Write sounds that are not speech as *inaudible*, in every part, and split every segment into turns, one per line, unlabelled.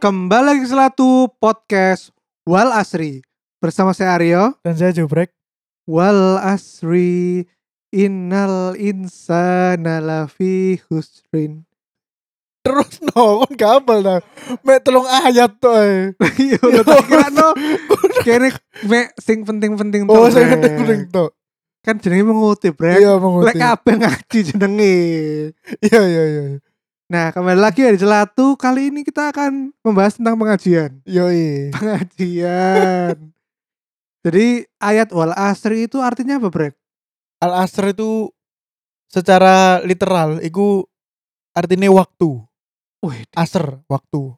Kembali lagi ke Selatu Podcast Wal Asri Bersama saya Aryo
Dan saya Jubrek.
Wal Asri Innal insana lafi husrin
Terus no, kon gabel ta. Mek telung ayat to. eh.
*laughs* Iya, lho, tak kira no Kayaknya me, sing penting-penting
Oh,
tok,
saya
Brek.
ngetik kuring to.
Kan jenenge mengutip Brek
Iya, mengutip.
Lek kabeh ngaji jenenge
Iya, iya, iya.
Nah kembali lagi ya di Selatu Kali ini kita akan membahas tentang pengajian
Yo iya.
pengajian. *laughs* Jadi ayat wal asri itu artinya apa, Brek?
Al Asr itu secara literal iku artinya waktu.
Wih,
Asr, waktu.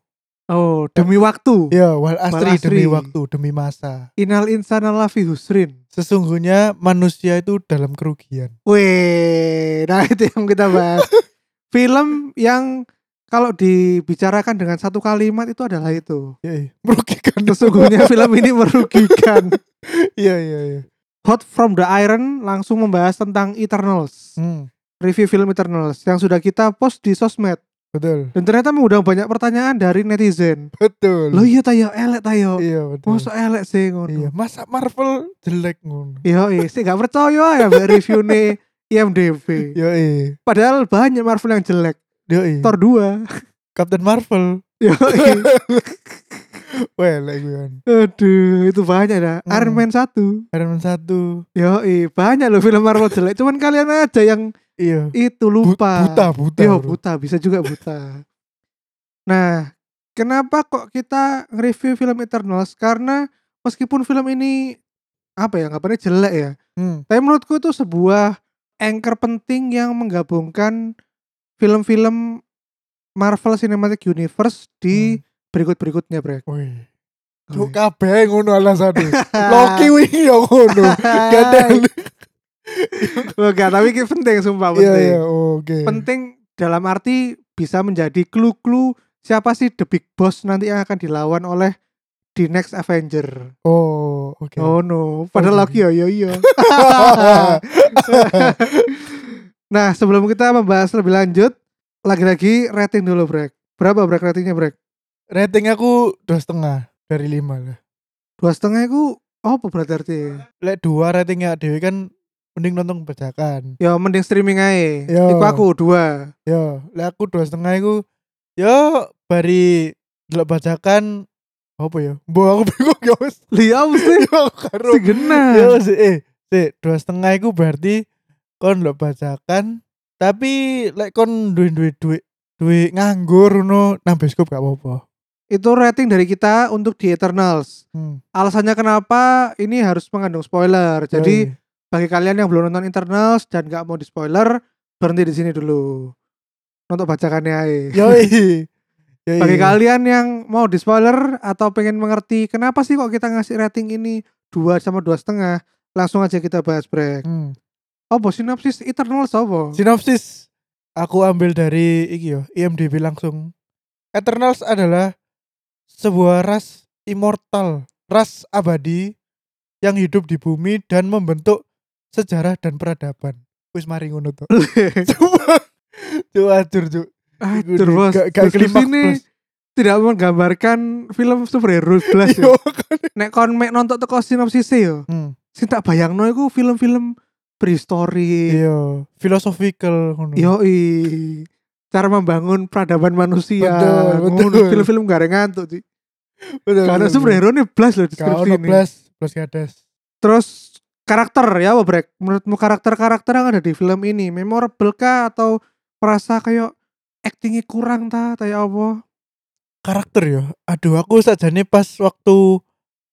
oh, demi waktu.
Iya, wal asri,
asri.
demi waktu, demi masa.
Inal insana lafi husrin.
Sesungguhnya manusia itu dalam kerugian.
Wih, nah itu yang kita
*laughs*
bahas. Film yang kalau dibicarakan dengan satu kalimat itu adalah itu.
Iya, iya. merugikan. *laughs*
Sesungguhnya film ini merugikan.
Iya, iya, iya.
Hot from the Iron langsung membahas tentang Eternals.
Hmm,
Review film Eternals yang sudah kita post di sosmed.
betul.
Dan ternyata mengundang banyak pertanyaan dari netizen.
Betul.
Lo iya tayo, elek tayo.
Iya, betul.
Masa elek sih
Iya,
ngono.
masa Marvel jelek ngono.
Iya, iya, sih gak percaya ya mbak review nih IMDb.
Yo iya.
Padahal banyak Marvel yang jelek.
Yo iya.
Thor *laughs* 2.
Captain Marvel. *laughs*
Yo, iya.
Welek gue kan.
Aduh, itu banyak dah.
Hmm.
Iron Man 1.
Iron Man 1.
Yo, iya, banyak loh film Marvel jelek. Cuman kalian aja yang
Iya.
itu
Bu-
lupa.
Buta, buta.
Yo,
bro.
buta, bisa juga buta. nah, kenapa kok kita review film Eternals? Karena meskipun film ini apa ya, ngapainnya jelek ya.
Hmm.
Tapi menurutku itu sebuah anchor penting yang menggabungkan film-film Marvel Cinematic Universe di
Hmm.
berikut-berikutnya, Brek.
Wih. Cuk
Oke.
kabeh ngono
*laughs*
alasannya. Loki wingi yo ngono. Gak ada.
Oh, Enggak, tapi ini penting sumpah
Iya,
penting.
iya, oke.
Penting dalam arti bisa menjadi clue-clue siapa sih the big boss nanti yang akan dilawan oleh di next Avenger.
Oh, oke. iya.
Oh no, padahal Loki oh, iya,
Oke.
yo yo yo. Nah, sebelum kita membahas lebih lanjut, lagi-lagi rating dulu, Brek. Berapa Brek ratingnya, Brek?
*laughs* Rating aku dua setengah dari lima lah.
Dua setengah itu apa berarti artinya?
Lek dua ratingnya dewe kan mending nonton bajakan.
Ya mending streaming aja.
Yo.
Iku aku dua.
Yo, lek aku dua setengah iku yo bari delok bajakan apa ya? Mbok aku bingung ya wis.
Lihat sih,
Yo karo Yo
segena.
si, eh si, dua setengah itu berarti kon lo bacakan tapi lek kon duit duit duit duit nganggur no nang bioskop gak apa-apa.
Itu rating dari kita untuk di Eternals.
Hmm.
Alasannya kenapa ini harus mengandung spoiler. Jadi
Yoi.
bagi kalian yang belum nonton Eternals dan nggak mau di spoiler, berhenti di sini dulu. Untuk bacakannya aja.
yoi. Yoi. *laughs*
Bagi kalian yang mau di spoiler atau pengen mengerti kenapa sih kok kita ngasih rating ini 2 sama dua setengah, langsung aja kita bahas break.
Hmm.
Apa sinopsis Eternal apa?
Sinopsis aku ambil dari iki yo IMDb langsung. Eternals adalah sebuah ras immortal, ras abadi yang hidup di bumi dan membentuk sejarah dan peradaban. Wis mari ngono
*laughs*
to. Coba coba ajur cuk.
Aduh, bos.
Gak- gak
Deskripsi
klimaks,
ini
Bos.
tidak menggambarkan film superhero blas ya.
Yo.
Nek kon mek nonton teko sinopsis yo.
Iya. Hmm.
Sing tak bayangno iku film-film prehistorik.
Yo, Iya. philosophical ngono.
Yoi. Cara membangun peradaban manusia.
Betul,
Ngono,
betul.
Film-film gareng ngantuk sih.
Betul,
Karena
betul, betul.
superhero ini blas loh deskripsi
Karena
ini.
plus plus kades.
Terus karakter ya apa Brek? Menurutmu karakter-karakter yang ada di film ini memorable kah atau merasa kayak actingnya kurang ta kayak apa?
karakter ya. Aduh, aku sajane pas waktu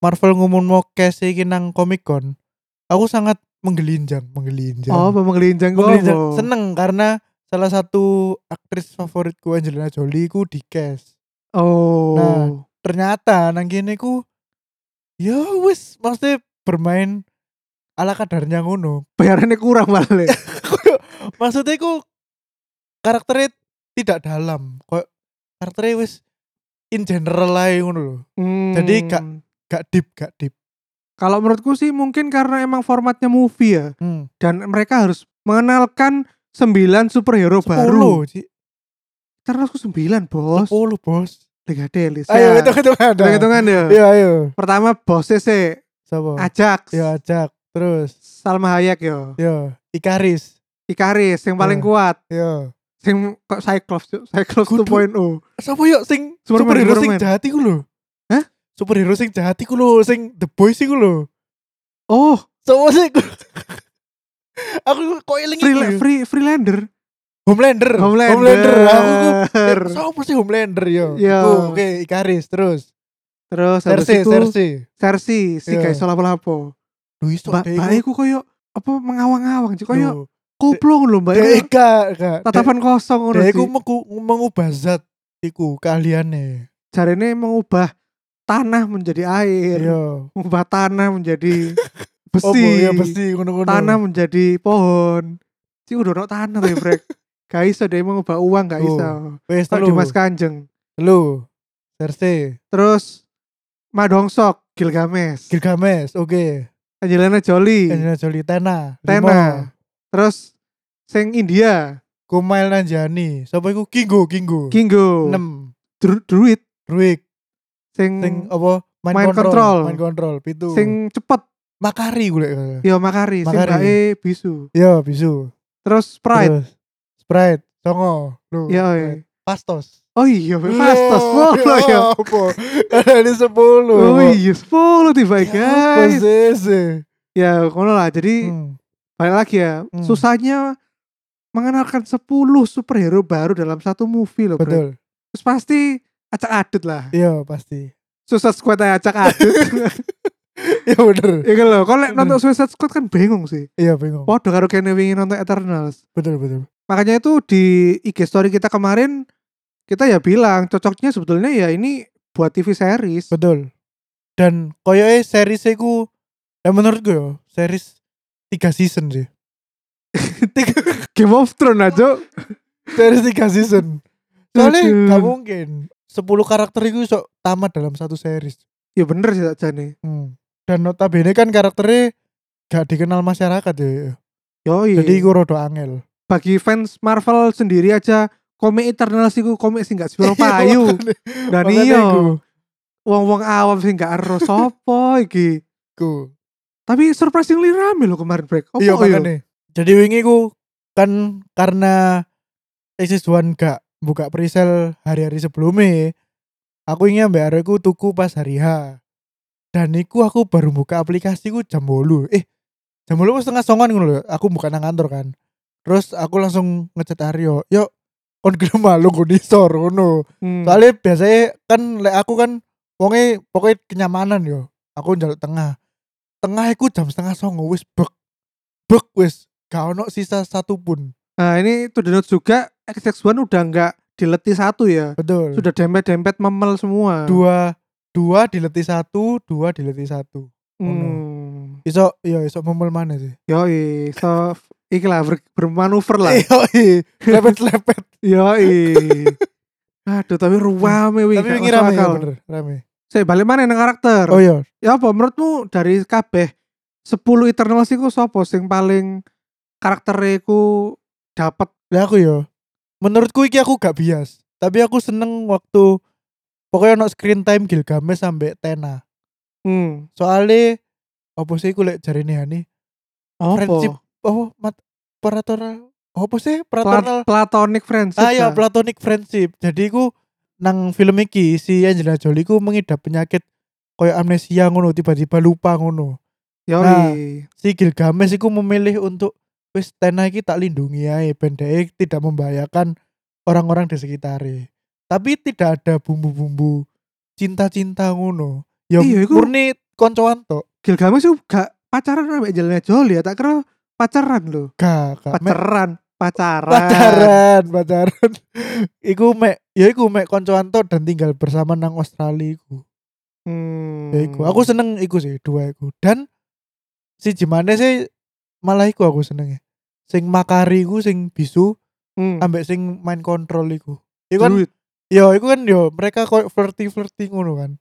Marvel ngomong mau case iki nang Comic Con, aku sangat menggelinjang, menggelinjang.
Oh, apa menggelinjang kok Oh.
menggelinjang.
apa?
Seneng karena salah satu aktris favoritku Angelina Jolie ku di cast.
Oh.
Nah. Ternyata nang kene ku ya wis maksudnya bermain ala kadarnya ngono.
bayarannya kurang malah.
*laughs*
Le.
maksudnya ku karakternya tidak dalam. Kok karakternya wis in general lah ngono loh.
Hmm.
Jadi gak- Gak deep, gak deep.
kalau menurutku sih mungkin karena emang formatnya movie ya
Hmm.
dan mereka harus mengenalkan 9 superhero baru.
Sepuluh, Ci.
Terus aku 9, Bos.
Sepuluh bos.
tiga delis.
Ayo hitung hitungan.
Udah hitungan ya.
Iya ayo.
Pertama bosnya sih
Siapa?
Ajax.
Ya ajak. Terus.
Salma Hayek yo.
Yo Ikaris.
Ikaris yang paling
Ya.
kuat.
Yo.
Sing kok Cyclops, Cuk. Cyclops oh.
Kudu.
2.0.
Siapa yuk sing
Superman,
superhero sing
Superman.
jahat iku lho?
Hah?
Superhero sing jahat iku lho, sing The Boys iku lho.
Oh,
Siapa sih? *laughs* aku kok eling
free,
iku ya?
free, freelander.
Homelander.
Homelander. *laughs*
Aku ku- Eh, Siapa sih Homelander yo?
Yo.
Iku, Oke, Ikaris terus.
Terus habis
Cersei,
itu
Cersei.
Cersei, si
Iya.
guys lapo-lapo.
Duh, iso
Mbak
deh iku.
Mbak iku koyo apa mengawang-awang, Cuk. koyo
Duh,
koplo lho Mbak.
deh
iku.
gak, gak.
Tatapan kosong
Deh-
ngono
deh
sih.
iku mengu- mengubah zat iku kaliane.
Jarene mengubah tanah menjadi air,
Yo.
mengubah tanah
*laughs*
menjadi
Oh,
Iya. besi,
ya besi ngono-ngono.
tanah menjadi pohon. Ci udah ono tanah tuh,
*laughs*
Brek. Gak iso deh mengubah uang gak
Tuh.
iso.
Wes
Kalau
telu.
Dimas Kanjeng.
Telu. Cersei.
Terus Madongsok, Gilgamesh,
Gilgamesh, oke.
Angelina Jolie,
Angelina Jolie, Tena,
Iya.
Limo,
Tena. Terus sing India,
Kumail Nanjiani, sapa iku Kingo, Kingo.
Kingo,
6.
Dru- Druid,
Druid,
sing
sing oh. apa?
Hmm. Mind Control.
Mind Control, pitu.
sing cepet,
Makari gue. lek.
ya Makari, sing
Makari.
bae bisu.
Yo, bisu.
Terus Pride,
Terus, Sprite, Songo, lu.
ya oi.
Sprite. Pastos. Iya,
Oh iya, Fastos polo ya.
Apa? *laughs* Ini 10.
Oh iya, sepuluh tiba
Ya, apa
guys.
sih, sih?
Ya, kono lah. Jadi
Hmm.
balik lagi ya,
Hmm.
susahnya mengenalkan 10 superhero baru dalam satu movie
Iya,
loh, Bro.
Betul.
Terus pasti acak-adut lah.
Iya, pasti.
Suicide Squad aja acak-adut.
*laughs* Iya bener.
ya kan loh, kalau lek
Bener.
nonton Suicide Squad kan bingung sih.
Iya, bingung.
Podo karo kene wingi nonton Eternals.
Betul, betul.
Makanya itu di IG story kita kemarin kita ya bilang cocoknya sebetulnya ya ini buat TV series.
Betul. Dan koyoke series iku ya menurut gue yo, series 3 season sih.
Game of Thrones aja.
*laughs* series 3 season. Soalnya
Aduh.
gak mungkin 10 karakter itu sok tamat dalam satu series.
Ya bener sih sakjane.
Hmm. Dan notabene kan karakternya gak dikenal masyarakat ya.
Yo
Jadi iku rodo angel.
bagi fans Marvel sendiri aja komik Eternals iku komik sing gak
*laughs* Iya,
sepiro payu. Dan
Makanya
iya,
iku.
wong-wong awam sing gak ero sapa iki.
Iku.
Tapi surprisingly rame loh kemarin break. Apa ya?
Iya makanya. Jadi wingi ku kan karena Exis One gak buka presale hari-hari sebelumnya aku ingin ambek arekku tuku pas hari H dan iku aku baru buka aplikasi ku jam 8 eh jam 8 ku setengah songan ngono lho aku buka nang kantor kan terus aku langsung ngechat Aryo yuk kon gelem malu kon isor ngono
Hmm.
soalnya biasanya kan lek aku kan wonge pokoknya kenyamanan yo aku njaluk tengah tengah iku jam setengah songo wis bek bek wis gak ono sisa satu pun
Nah ini to the note juga XX1 udah nggak dileti satu ya
betul
Sudah dempet-dempet memel semua
dua dua dileti satu dua dileti satu
hmm.
iso iya iso memul mana sih
Yoi So Iki lah ber- bermanuver
*laughs*
lah
iya iya lepet lepet
Yoi Aduh tapi ruame *laughs* wih
tapi
gak
ini
masuk
rame ya
akal.
bener rame
Saya balik mana nang karakter
oh iya
Ya apa menurutmu dari kabeh 10 Eternals iku sapa sing paling karaktere iku dapat
Lah aku yo. Menurutku iki aku gak bias, tapi aku seneng waktu pokoknya ono screen time Gilgamesh sampai Tena.
hmm.
Soale apa sih iku lek jarine Hani? Friendship.
Apa?
Oh, mat paraternal. Apa sih
Pla-
paraternal?
platonic friendship
Ah
lah.
ya, platonic friendship. Jadi ku nang film iki si Angelina Jolie ku mengidap penyakit koyo amnesia ngono, tiba-tiba lupa ngono.
Yoi
Nah. Si Gilgamesh iku memilih untuk wis Tena iki tak lindungi ae ben dhek e tidak membahayakan orang-orang di sekitare. Tapi tidak ada bumbu-bumbu cinta-cinta ngono. Ya
Iya, iku-
murni koncoan tok.
Gilgamesh tuh gak pacaran sama Angelina Jolie ya tak kira pacaran loh
Gak, gak. Mek-
pacaran pacaran
pacaran, pacaran. *laughs* iku mek ya iku mek koncoan tok dan tinggal bersama nang Australia iku.
Hmm.
Ya iku. Aku seneng iku sih, dua iku. Dan si gimana sih malah iku aku seneng ya. Sing makari iku sing bisu
hmm.
ambek sing main kontrol iku. Iku kan
duit
Yo, iku kan yo mereka koyo flirty flirty ngono kan.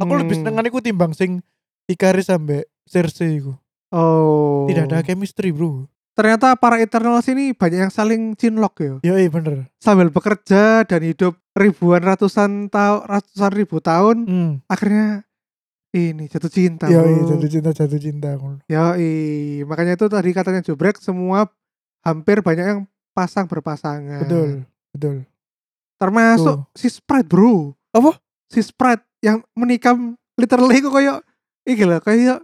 Aku lebih
Hmm.
seneng kan iku timbang sing Ikaris sampe Cersei iku.
oh
Tidak ada chemistry, Bro.
ternyata para Eternals ini banyak yang saling cinlok ya.
Yoi bener.
Sambil bekerja dan hidup ribuan ratusan tahun ratusan ribu tahun
Hmm.
akhirnya ini jatuh cinta.
Yoi
bro.
jatuh cinta jatuh cinta.
Hmm. Yoi, makanya itu tadi katanya Jubrek semua hampir banyak yang pasang berpasangan.
Betul betul.
Termasuk si Sprite, Bro.
Apa?
Si Sprite yang menikam literally kok koyo iki lho, koyo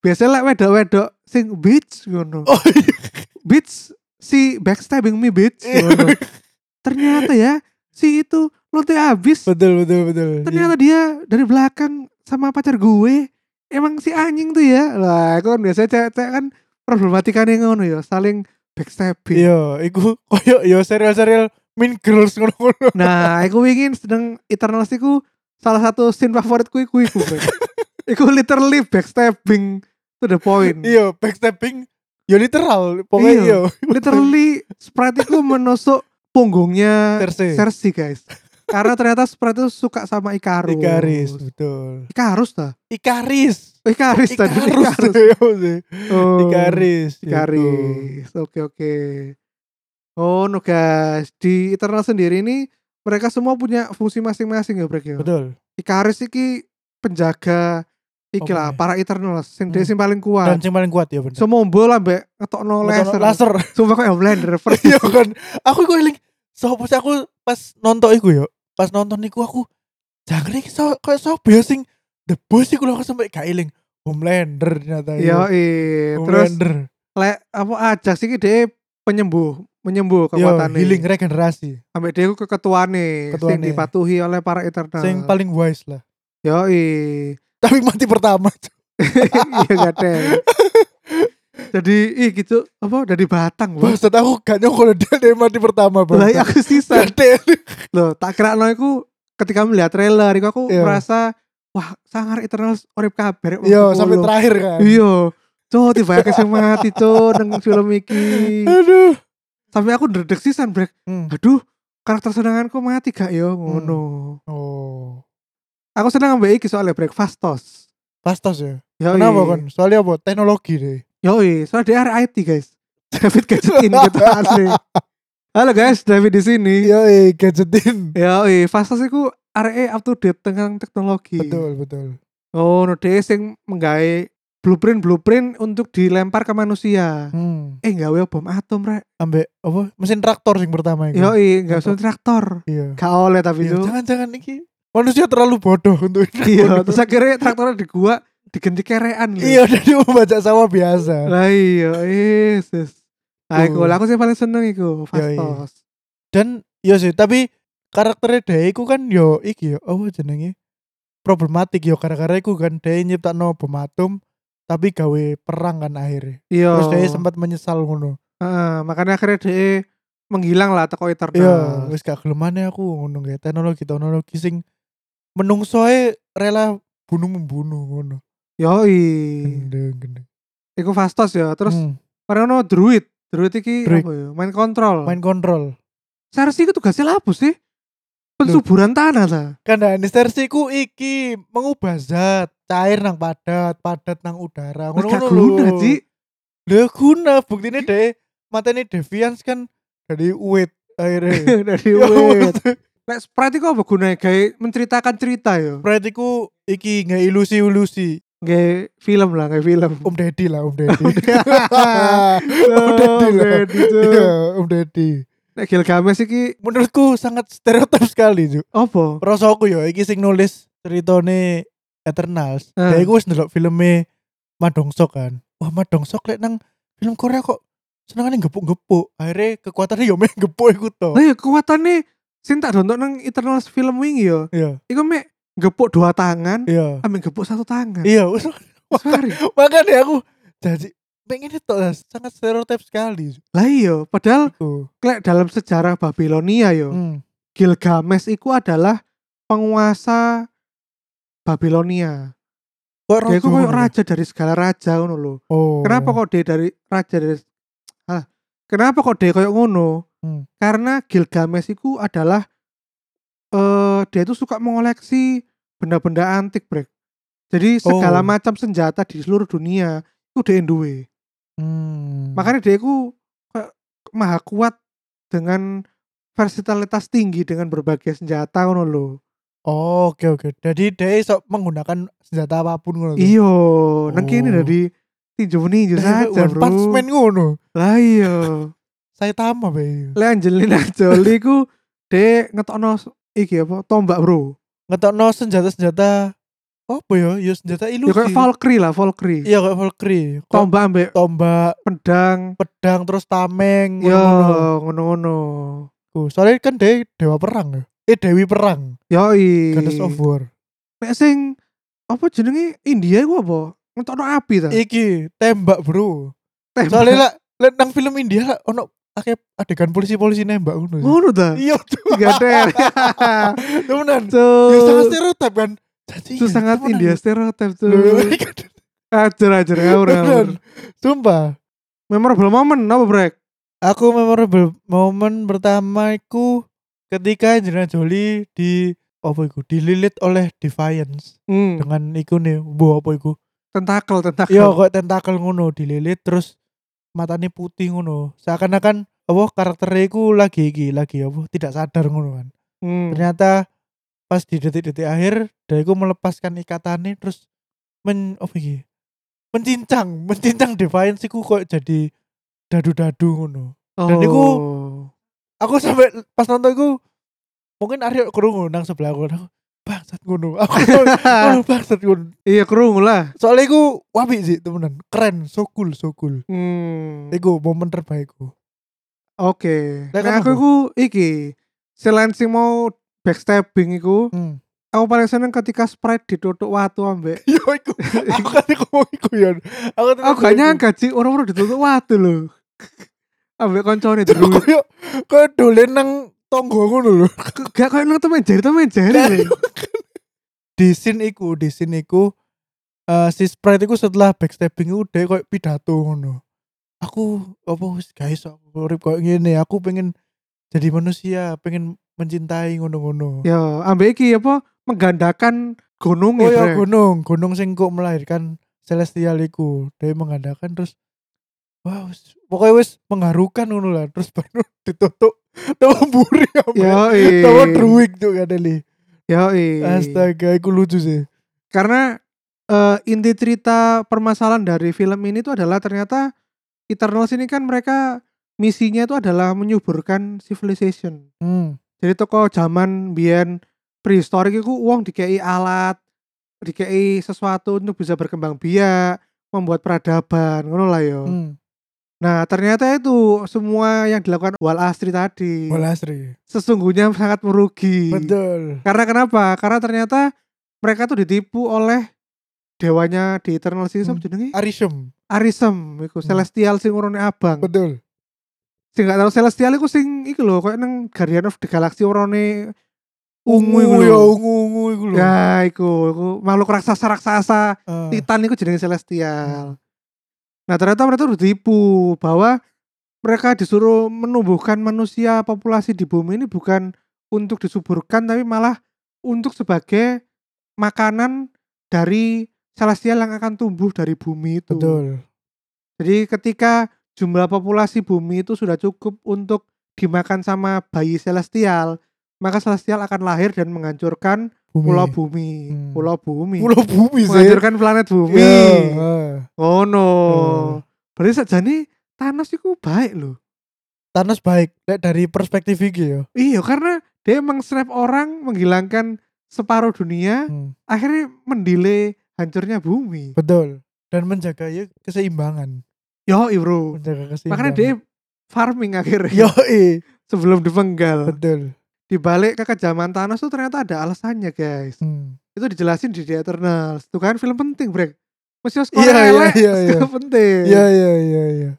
biasanya lek wedok-wedok sing bitch ngono.
Oh iya.
Bitch si backstabbing me bitch ngono. Ternyata ya si itu lonte habis.
betul betul betul.
Ternyata dia dari belakang sama pacar gue emang si anjing tuh ya. Lah, aku kan biasanya cewek-cewek kan problematikanya ngono ya, saling backstabbing.
Iya, iku koyo yo serial-serial Mean Girls ngono-ngono.
Nah, aku ingin sedang Eternals iku salah satu scene favoritku iku iku. Bro. iku literally backstabbing to the point.
Iya, backstabbing yo literal pokoknya
Hmm. Iya.
yo.
literally Sprite itu menusuk punggungnya
Cersei.
Cersei, guys. Karena ternyata Sprite itu suka sama Ikarus.
Ikaris, betul.
Ikarus dah.
Ikaris.
Oh, Ikarus tadi.
Ikarus. *laughs* Ikarus.
Oh.
Ikaris. gitu.
Garis. Oke oke. Oh no guys, di internal sendiri ini mereka semua punya fungsi masing-masing ya Brek ya.
Betul.
Ikaris iki penjaga iki
Oke.
lah para Eternals sing dia
Hmm.
sing paling
Dan
kuat.
yang paling kuat ya bener.
Semombo lah mbek ngetokno Ah. laser.
laser.
Sumpah kok ya
*laughs*
blender
Iya
persis.
kan. Aku iku eling. Sopo sih aku pas nonton iku yo. Pas nonton iku aku jangkrik so koyo sopo ya sing The Boys iku lho aku sampe gak eling. Homelander ternyata
Yo
iku.
Iya, terus
Homelander.
lek apa aja sih dia penyembuh menyembuh
Yo,
kekuatannya.
Iya, healing regenerasi.
Ambek dia ku ketuane, sing
Ketuane.
dipatuhi oleh para Eternals.
Sing paling wise lah. *laughs*
Yoi. *laughs*
Tapi mati pertama.
iya gak
*laughs*
ada jadi ih gitu apa dari batang loh
Bangsat aku gak nyokol dia dia mati pertama
lah iya,
bang.
aku sisa
*laughs*
loh tak kira no aku ketika melihat trailer iku aku
Iya.
merasa wah sangar Eternals urip kabar
Yo sampai terakhir kan.
iya Cok, tiba tiba yang mati cok neng film
*laughs*
iki
Aduh.
sampai aku dredeg sisan brek
Hmm.
aduh karakter senanganku mati gak yo ngono
Oh.
aku seneng ambek iki soalnya breakfast toast
Pastos ya.
Yoi.
Kenapa kan? Soalnya apa? Teknologi deh.
Yoi, soalnya dia area IT guys. *laughs* David gadgetin gitu asli. Halo guys, David di sini.
Iya, gadgetin.
Yoi, Fastos itu area up to date tentang teknologi.
Betul, betul.
Oh, no dia sing menggawe blueprint-blueprint untuk dilempar ke manusia.
Hmm.
Eh, nggawe bom atom, Rek.
Ambek apa? Mesin traktor yang pertama itu.
Yoi, nggawe
Mantap.
sun traktor.
Iya.
Gak oleh tapi itu.
Iya, Jangan-jangan iki manusia terlalu bodoh untuk ini. *laughs*
Iya, terus akhirnya traktornya di gua diganti kerean. lho.
Iya, *laughs* dari membaca sama biasa.
Lah iya, Yesus. Nah, iku,
Tuh.
lah aku sih paling seneng
Iya,
iku, Fastos.
Dan iya sih, tapi karakternya dia iku kan yo iki yo apa jenenge? Problematik yo gara-gara iku kan dia nyiptakno bom atom tapi gawe perang kan akhirnya.
Iya.
Terus dia sempat menyesal ngono.
Heeh, makanya akhirnya dia menghilang lah teko
Iya,
Eternal.
wis gak gelemane aku ngono kayak teknologi teknologi sing menungsoe rela bunuh membunuh ngono.
Yoi.
Gendeng gendeng.
Iku Fastos ya. Iya. Terus
Iya. Hmm,
Mereka no druid, druid iki
Druid.
apa ya? Main kontrol.
main kontrol.
Cersei itu tugasnya apa sih? Pensuburan tanah ta.
Karena ku iki mengubah zat cair nang padat, padat nang udara.
Wis gak
lho.
guna, Ji.
Lah guna buktine deh mateni Deviance kan dari uwit *laughs* akhirnya.
Dari
Ya,
wit.
maksudnya,
Lek sprite iku apa gunanya? Gawe menceritakan cerita yo.
Berarti ku iki nggak ilusi-ilusi.
Gawe film lah, gawe film.
Om Deddy lah, *laughs* Om Deddy.
*laughs* Oh,
Deddy lah.
Daddy tuh.
Iya, Om Deddy.
Nek Gilgamesh iki
menurutku sangat stereotip sekali Cuk.
apa?
Rasaku ya iki sing nulis ceritane Eternals.
Eh.
Dia iku wis ndelok filme Madongsok kan. Wah, Madongsok lek nang film Korea kok senengane gepuk-gepuk. Akhirnya kekuatannya yo meh gepuk iku to.
Lah ya kekuatane sing tak nonton nang Eternal film wingi yo.
Iya,
Iku mek gepuk dua tangan,
iya.
ambek gepuk satu tangan.
Iya, wis
Sorry.
makane aku jadi pengen itu lah, sangat stereotip sekali Cuk.
Lah iya, padahal
iku.
klek dalam sejarah Babilonia ya, yo.
Hmm.
Gilgamesh itu adalah penguasa Babilonia.
Kok
Dia itu kayak
ngono.
raja dari segala raja ngono lho.
gitu. Oh.
Kenapa kok dia dari raja dari ah, Kenapa kok dia kayak ngono?
Hmm.
Karena Gilgamesh itu adalah eh dia itu suka mengoleksi benda-benda antik, Brek. Jadi segala
Oh.
macam senjata di seluruh dunia itu dia duwe.
Hmm.
makanya dia itu kayak maha kuat dengan versatilitas tinggi dengan berbagai senjata ngono lho.
Oh, oke oke. Jadi dia iso menggunakan senjata apapun ngono. to?
Iyo, Iya, nang kene
Oh.
dari tinju ninju
Dia sampe
saja,
*laughs* One Punch
Bro.
Man ngono.
Lah iya.
Saya tambah bae.
Le Angelina *laughs* Jolie ku dek ngetokno s- iki apa tombak, Bro.
Ngetokno senjata-senjata apa ya? Ya senjata
Ya
ilusi.
kayak Valkyrie lah, Valkyrie.
Iya kayak Valkyrie. Kayak
Tombak ambek
tombak,
pedang.
pedang terus tameng
Yo,
ngono-ngono.
ngono-ngono.
Ku, Soalnya kan dia dewa perang ya. Eh dewi perang,
Yoi.
Goddess of War.
Nek sing apa jenenge India iku apa? Ngetokno api ta?
Iki tembak, Bro.
Tembak.
Iya, Soalnya lah liat nang film India lah ono akeh adegan polisi-polisi nembak ngono.
ngono ta?
Iya tuh.
Tiga
*laughs*
der.
Temenan. Ya sangat
Tuh.
stereotip kan. Jadi
Itu
iya,
sangat
temenan.
India stereotip
Loh,
tuh. Ajar ajar ngawur ngawur.
Beneran. Sumpah.
Memorable moment apa brek?
Aku memorable momen pertama iku ketika Angelina Jolie di apa iku dililit oleh Defiance
Hmm.
dengan iku nih bu apa iku
Tentakel tentakel.
iya kok tentakel ngono dililit terus matanya putih ngono seakan-akan apa karakternya iku lagi iki lagi apa tidak sadar ngono kan
Hmm.
ternyata pas di detik-detik akhir dia iku melepaskan ikatannya terus men apa iki mencincang mencincang Defiance iku kok jadi dadu-dadu ngono dan
Oh.
iku aku sampai pas nonton iku mungkin Aryo kerungu nang sebelah aku aku bangsat ngono *laughs* aku oh, bangsat ngono
*laughs* iya kerungu lah.
soalnya iku wabi sih temenan keren so cool so cool
Hmm.
iku momen terbaikku
Oke.
Lah,
Nah, aku
kenapa?
iku iki selain sing mau backstabbing iku,
hmm.
aku paling seneng ketika Sprite ditutuk watu ambek.
*laughs* yo iku aku kan iku mau iku yon aku kan
Aku gak nyangka sih orang-orang ditutuk watu loh. *laughs* Ambek koncone dulu.
aku yo kau dolen nang tonggo ngono lho
Gak kayak nang temen jari temen jari.
di scene iku di scene iku eh, si Sprite iku setelah backstabbing iku dia koyo pidato ngono aku apa wis guys aku urip koyo ngene aku pengen jadi manusia pengen mencintai ngono-ngono
Ya, ambek iki apa menggandakan gunung
oh ya
Brek.
gunung gunung sing kok melahirkan celestial iku dia mengadakan terus wow wis- pokoknya wis mengharukan ngono lah terus baru *laughs* ditutup ya, tawa buri apa
Yoi. Iya.
tawa druid tuh kan Deli.
Yoi.
astaga iku lucu sih
Karena eh, inti cerita permasalahan dari film ini itu adalah ternyata Eternals ini kan mereka misinya itu adalah menyuburkan civilization.
hmm.
Jadi toko zaman biyen prehistoric itu uang dikei alat, dikei sesuatu untuk bisa berkembang biak, membuat peradaban, ngono lah yo.
hmm.
Nah, ternyata itu semua yang dilakukan Wal Asri tadi
Bola asri
sesungguhnya sangat merugi.
betul
Karena kenapa? Karena ternyata mereka tuh ditipu oleh dewanya di Eternal City
Hmm.
sapa jenenge?
Arishem
Arisem iku
Hmm.
Celestial sing urune abang.
betul
Sing gak tau Celestial iku sing iku lho koyo nang Guardian of the Galaxy urune ungu iku
ya
lho.
ungu ungu iku lho
Ya iku, iku makhluk raksasa-raksasa
Ah,
Oh. Titan iku jenenge Celestial. Nah, ternyata mereka tuh ditipu bahwa mereka disuruh menumbuhkan manusia populasi di bumi ini bukan untuk disuburkan tapi malah untuk sebagai makanan dari celestial yang akan tumbuh dari bumi itu.
betul
Jadi ketika jumlah populasi bumi itu sudah cukup untuk dimakan sama bayi celestial, maka celestial akan lahir dan menghancurkan
Bumi.
pulau bumi,
Hmm.
pulau bumi,
pulau bumi sih
menghancurkan planet bumi.
Ya, ah.
Oh no.
Hmm.
Berarti sajane Thanos itu baik loh.
Thanos baik Lek dari perspektif iki ya
Iya, karena dia meng-snap orang menghilangkan separuh dunia,
Hmm,
akhirnya mendile hancurnya bumi.
betul dan menjaga ya keseimbangan
Yo, bro.
menjaga keseimbangan
Makanya dia farming akhirnya
yo
*laughs* sebelum dipenggal.
betul
Di balik kekejaman Thanos tuh ternyata ada alasannya, guys.
Hmm.
Itu dijelasin di The Eternals. Itu kan film penting, Brek. Mesti harus
Iya,
Korea
iya,
elek,
iya,
score penting.
iya iya iya iya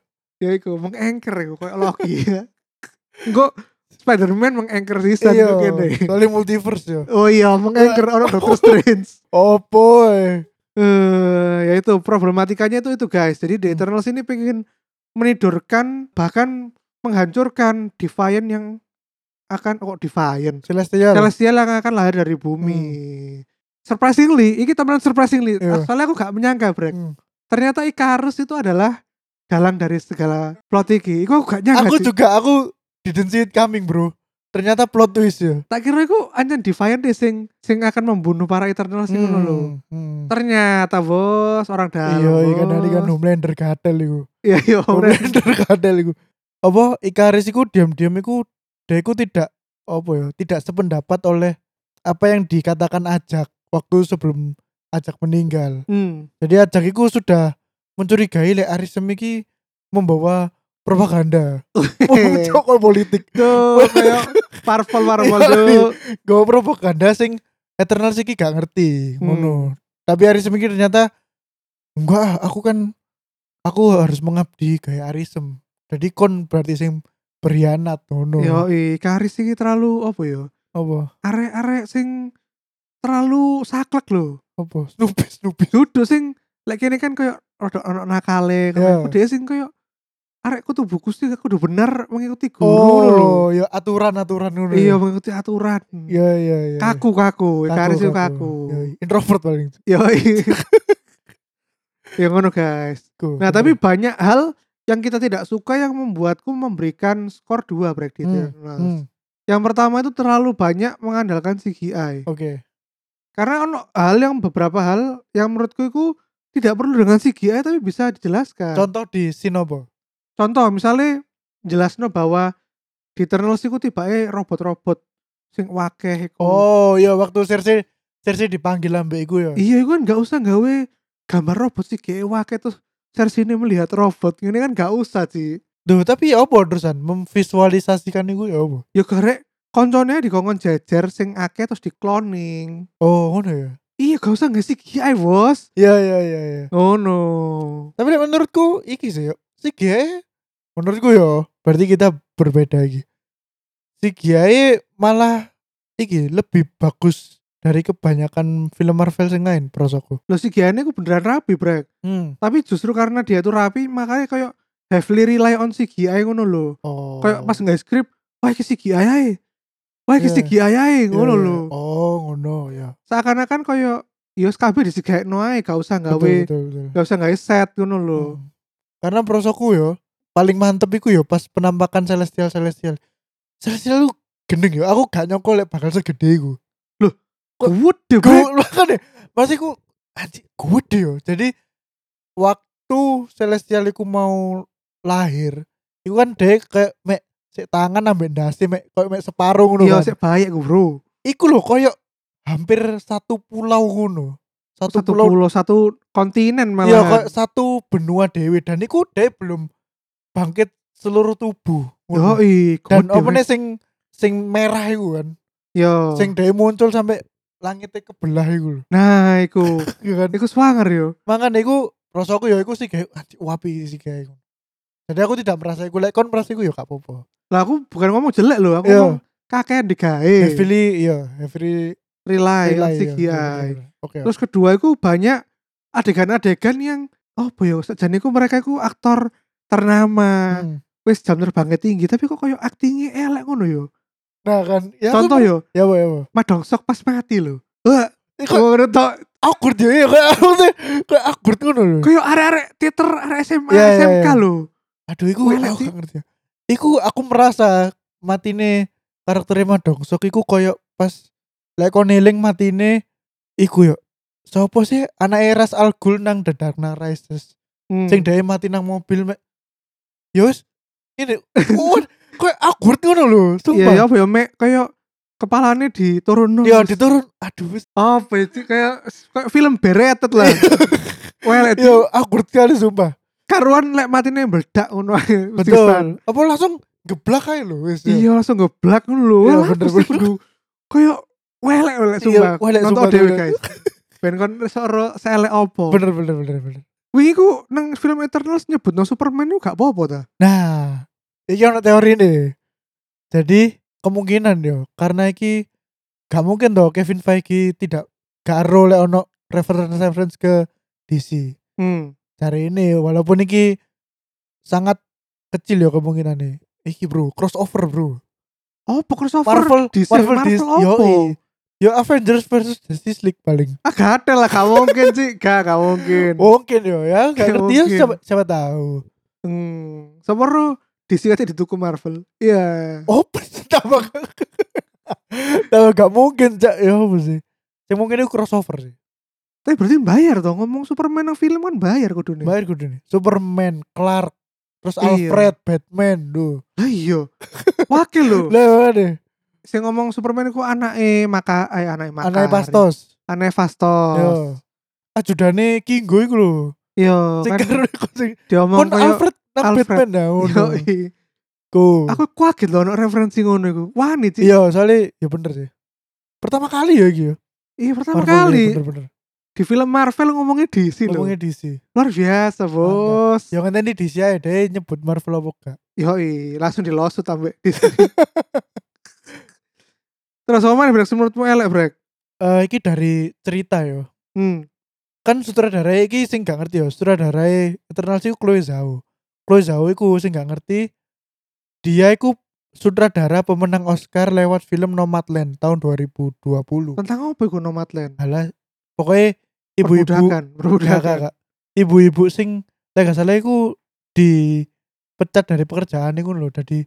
Ya iku meng-anchor iku koyo Loki *laughs* ya. Engko Spider-Man meng-anchor sisan
iya
kok kene.
soalnya multiverse ya
Oh iya, meng-anchor orang Doctor
*laughs*
Strange.
opo eh.
eh ya itu problematikanya itu itu guys. Jadi The
Hmm.
Eternals ini pengen menidurkan bahkan menghancurkan Defiant yang akan kok Defiant.
celestial
Celestial yang akan lahir dari bumi. Surprisingly, Ah, ini teman surprisingly.
Hmm. Iya.
Soalnya aku gak menyangka, Brek.
Hmm.
Ternyata Icarus itu adalah dalang dari segala plot iki. Iku gak nyangka.
aku
Ci.
juga aku didn't see it coming bro ternyata plot twist ya
tak kira iku anjen Defiant deh sing sing akan membunuh para Eternals iku ngono lho.
hmm.
Ternyata bos orang dalam.
iya ikan
bos.
dari kan Homelander gatel iku
Iya iya. bener.
Homelander *laughs* gatel iku apa Ikaris iku diam-diam iku dia iku tidak apa ya tidak sependapat oleh apa yang dikatakan Ajak waktu sebelum Ajak meninggal
Hmm.
Jadi ajak iku sudah mencurigai lek Aris Sem iki membawa propaganda. Cokol politik.
Tuh kayak parpol parpol tuh.
Iya, Gak propaganda sing Eternal iki gak ngerti
Hmm.
ngono. Tapi Aris Sem iki ternyata enggak, aku kan aku harus mengabdi kayak Arisem. Jadi kon berarti sing berkhianat ngono.
Yo i Karis iki terlalu apa ya?
Apa?
Arek-arek sing terlalu saklek lho.
Apa? Snoopy Snoopy.
Duduk sing lek kene kan koyo rada ono nakale.
Iya.
Kok dia sing koyo arek kudu buku sih kudu bener mengikuti guru lho.
Oh, ya aturan-aturan ngono.
Iya mengikuti aturan.
Iya iya iya.
Kaku kaku, Karis itu kaku.
Iya, iya. Introvert paling.
Yoi. *laughs* ya ngono guys.
Ku-
Nah, tapi banyak hal yang kita tidak suka yang membuatku memberikan skor 2 break di
Hmm,
Eternals.
Hmm,
Yang pertama itu terlalu banyak mengandalkan CGI.
oke.
Karena ono hal yang beberapa hal yang menurutku itu tidak perlu dengan CGI tapi bisa dijelaskan.
Contoh di Sinobo.
Contoh misalnya jelasno bahwa di Eternals itu tibae robot-robot sing wakeh iku.
Oh iya waktu Cersei Cersei dipanggil ambek iku ya.
Iya, iku kan gak usah gawe gambar robot sih kayak wakil terus Cersei ini melihat robot ini kan gak usah sih.
Duh, tapi ya apa terusan memvisualisasikan iku ya apa?
Ya karek konconnya dikongkon jejer sing akeh terus dikloning.
Oh, ngono ya.
Iya, gak usah gak sih GI bos.
Iya iya iya iya.
Oh no.
Tapi nek menurutku iki sih ya, yo. CGI menurutku yo berarti kita berbeda iki. CGI malah iki lebih bagus dari kebanyakan film Marvel yang lain prosoku.
Lo si GI ini ku beneran rapi brek.
Hmm.
Tapi justru karena dia tuh rapi makanya kayak heavily rely on si GI ngono lo.
Oh.
Kayak pas nggak skrip, wah iki si GI ae. Wah iki si
Iya.
GI ae
Iya,
ngono
iya.
lo.
Oh, ngono ya.
Seakan-akan kayak yo kabeh disigekno ae gak usah gawe.
Betul, betul, betul.
Gak usah gawe set ngono lo.
Hmm. Karena prosoku yo paling mantep iku yo pas penampakan celestial celestial. Celestial lu gendeng yo. Aku gak nyangka lek bakal segede iku.
Gede
Gue kan ya. Pasti ku anjir gede yo. Jadi waktu celestial iku mau lahir, iku kan dek kayak mek sik tangan ambek ndase mek koyo mek separuh ngono
Iya
kan.
sik baik gue bro.
Iku lho koyo hampir satu pulau ngono. Satu,
Satu
pulau
pulau satu kontinen
Iya
malah.
kok satu benua dewi dan iku dhewe belum bangkit seluruh tubuh.
Yo
Ngono.
i.
dan opene sing sing merah iku kan.
Yo.
Sing dhewe muncul sampai langitnya kebelah iku
*laughs*
lho.
Nah iku.
Iya kan.
Iku swanger yo.
Makane iku rasaku ya iku sih kayak anjir, wapi sih kayak iku. Jadi aku tidak merasa iku lek kon merasa iku ya gak apa-apa.
Lah aku bukan ngomong jelek loh, aku
Iya.
ngomong kakek digawe.
Heavily iya, heavily
Rely on
rely, iya,
CGI.
bener-bener. Oke.
Terus kedua iku banyak adegan-adegan yang oh boyo sejane iku mereka iku aktor ternama.
Hmm.
Wis jam terbangnya tinggi tapi kok koyo aktingnya elek ngono yo.
Nah kan ya aku-
Contoh yo,
ya apa ya apa.
Madongsok pas mati lho. Wah,
Iku
ngono tok.
awkward ya iya, kayak aku tuh kayak awkward ngono lho.
Kayak arek-arek teater arek SMA,
Iya, iya,
SMK
iya.
lho.
Aduh, iku
Kuwi lek
aku
di-
gak ngerti. ya. Iku aku merasa matine karakternya Madongsok iku koyo pas lek kon eling matine iku yo. Sopo sih anak Eras Al Ghul nang The Dark Knight Rises.
Hmm.
Sing dhewe mati nang mobil mek. Yo wis ini kuwi koyo awkward ngono lho,
Iya, ya
sumpah.
apa ya mek kayak kepalanya diturunno.
Yo
terus.
diturun. Aduh wis.
apa itu kayak kayak film beretet lah. Well, itu
Iya. Yo awkward kali sumpah.
karuan lek matine meledak ngono ae. mesti san.
Betul. Apa langsung geblak ae lho wis. yo.
kan? Iya langsung ngeblak ngono lho.
Iya,
Lah,
bener,
mesti
bener.
kudu kayak welek welek
Iya,
sumpah.
welek
Nonton
sumpah,
dhewe
bener.
guys. Ben kon soro selek opo.
Bener bener bener bener.
Wingi ku nang film Eternals nyebutno Superman itu gak apa-apa ta.
Nah, iki ono teori nih. Jadi kemungkinan yo karena iki gak mungkin toh Kevin Feige tidak karo lek ono reference reference ke DC.
Hmm.
Cari ini walaupun iki sangat kecil yo kemungkinan nih. Iki bro, crossover bro.
Opo crossover?
Marvel,
DC,
Marvel,
Marvel
DC,
opo?
yo, yo Avengers versus Justice League paling.
Ah gak ada lah, gak mungkin sih. Gak, gak mungkin.
Mungkin yo ya,
Oke, *laughs*
gak ngerti ya
Hmm. mungkin.
siapa, siapa tahu.
Hmm. Semeru DC aja dituku Marvel. Iya.
Oh, *laughs* tambah tambah gak mungkin cak ya apa sih? Yang mungkin itu crossover sih.
Tapi berarti bayar dong ngomong Superman yang film kan bayar kudu nih.
Bayar kudu nih. Superman, Clark, terus
Iya.
Alfred, Batman, duh.
Lah iya. Wakil lho.
Lah mana?
Saya ngomong Superman ku anake maka eh anake maka.
Anai Pastos.
Anake Fastos.
Yo. Ajudane Kingo iku lho.
Yo,
Sing
kan
karo iku sing
diomong
kon
kayak
Alfred nang
Alfred.
Batman dah ngono.
Yoi.
Ku.
Aku kaget loh ono referensi ngono iku. Wah, nih, Ci.
Iya, soalnya ya bener sih. Pertama kali ya iki ya.
Iya, pertama
Marvel ya,
kali
bener-bener.
di film Marvel ngomongnya DC loh.
Ngomongnya DC.
Luar biasa, Bos.
Ya kan tadi DC aja deh nyebut Marvel apa gak.
Yoi, iya. langsung dilosut sampe di sini. *laughs* Terus apa nih Brek? Menurutmu elek Brek?
Eh iki dari cerita ya.
Hmm.
kan sutradara iki sing gak ngerti ya sutradara Eternal iku Chloe Zhao Chloe Zhao iku sing gak ngerti dia iku sutradara pemenang Oscar lewat film Nomadland tahun 2020
Tentang apa iku Nomadland?
alah pokoknya ibu-ibu
Perbudakan, perbudakan.
Gak, gak, gak. ibu-ibu sing lah gak salah iku dipecat dari pekerjaan iku lho jadi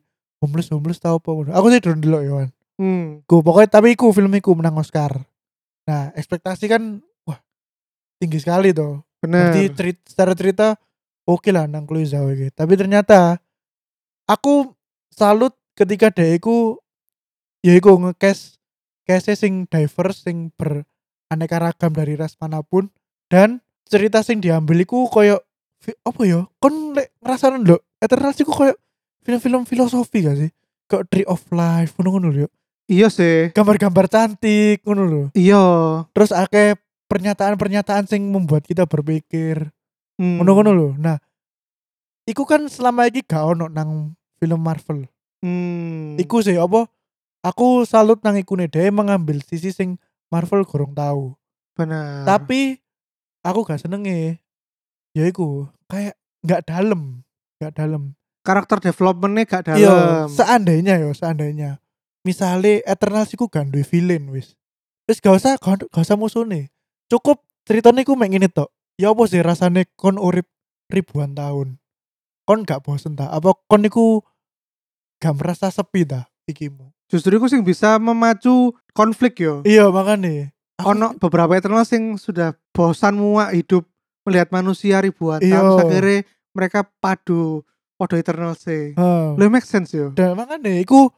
homeless homeless tau apa ngono. aku sih durung delok ya Wan.
Hmm.
Ku pokoknya tapi iku film iku menang Oscar nah ekspektasi kan wah tinggi sekali tuh
Bener.
Berarti cerit- secara cerita oke lah nang Chloe Zhao iki. Tapi ternyata aku salut ketika dia iku ya iku nge-cast case sing diverse sing beraneka ragam dari ras manapun dan cerita sing diambil iku koyo fi- apa ya? Kon lek ngrasakno lho, Eternals iku koyo film-film filosofi gak sih? Kayak Tree of Life ngono-ngono lho. ya.
iya sih.
Gambar-gambar cantik ngono lho.
Iya.
Terus akeh pernyataan-pernyataan sing membuat kita berpikir
Hmm.
ngono-ngono lho. Nah, iku kan selama iki gak ono nang film Marvel.
Hmm.
Iku sih apa? Aku salut nang ikune dhewe mengambil sisi sing Marvel gorong tahu.
bener.
Tapi aku gak senenge. Ya iku, kayak gak dalam, gak dalam.
karakter developmentnya gak dalam.
Iya, seandainya yo, seandainya. Misale Eternals iku gak duwe villain wis. Wis gak usah gak, gak usah musuhne. Cukup ceritanya iku mek ngene tok. Ya apa sih rasane kon urip ribuan tahun. Kon gak bosen ta? Apa kon iku gak merasa sepi ta ikimu?
Justru iku sing bisa memacu konflik yo.
Iya, makane. Aku-
Ono beberapa eternal sing sudah bosan muak hidup melihat manusia ribuan
Iya.
tahun akhirnya mereka padu podo eternal sih.
Heeh.
Lo make sense yo.
Dan makanya iku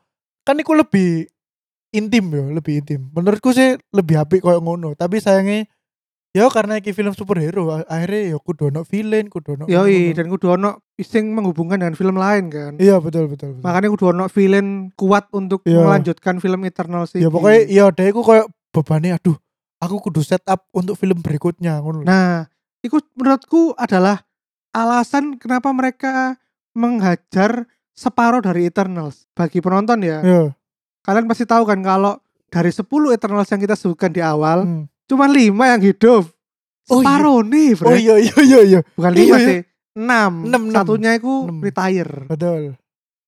kan iku lebih intim yo, lebih intim. Menurutku sih lebih apik koyo ngono, tapi sayangnya ya karena iki film superhero a- akhirnya ya kudu ono villain, kudu ono.
Yoi,
ngono.
dan kudu ono sing menghubungkan dengan film lain kan.
Iya betul betul. betul.
Makanya kudu ono villain kuat untuk
Iya.
melanjutkan film Eternal sih.
ya pokoknya iya deh iku koyo bebannya aduh, aku kudu set up untuk film berikutnya ngono.
Nah, itu menurutku adalah alasan kenapa mereka menghajar separuh dari Eternals. Bagi penonton ya,
Iya.
kalian pasti tahu kan kalau dari 10 Eternals yang kita sebutkan di awal,
Hmm.
cuma 5 yang hidup.
Oh iya.
Separuh nih, bro.
Oh iya iya iya iya.
Bukan
iya,
5
iya.
sih, 6.
Enam, enam.
Satunya itu
Enam.
retire.
Betul.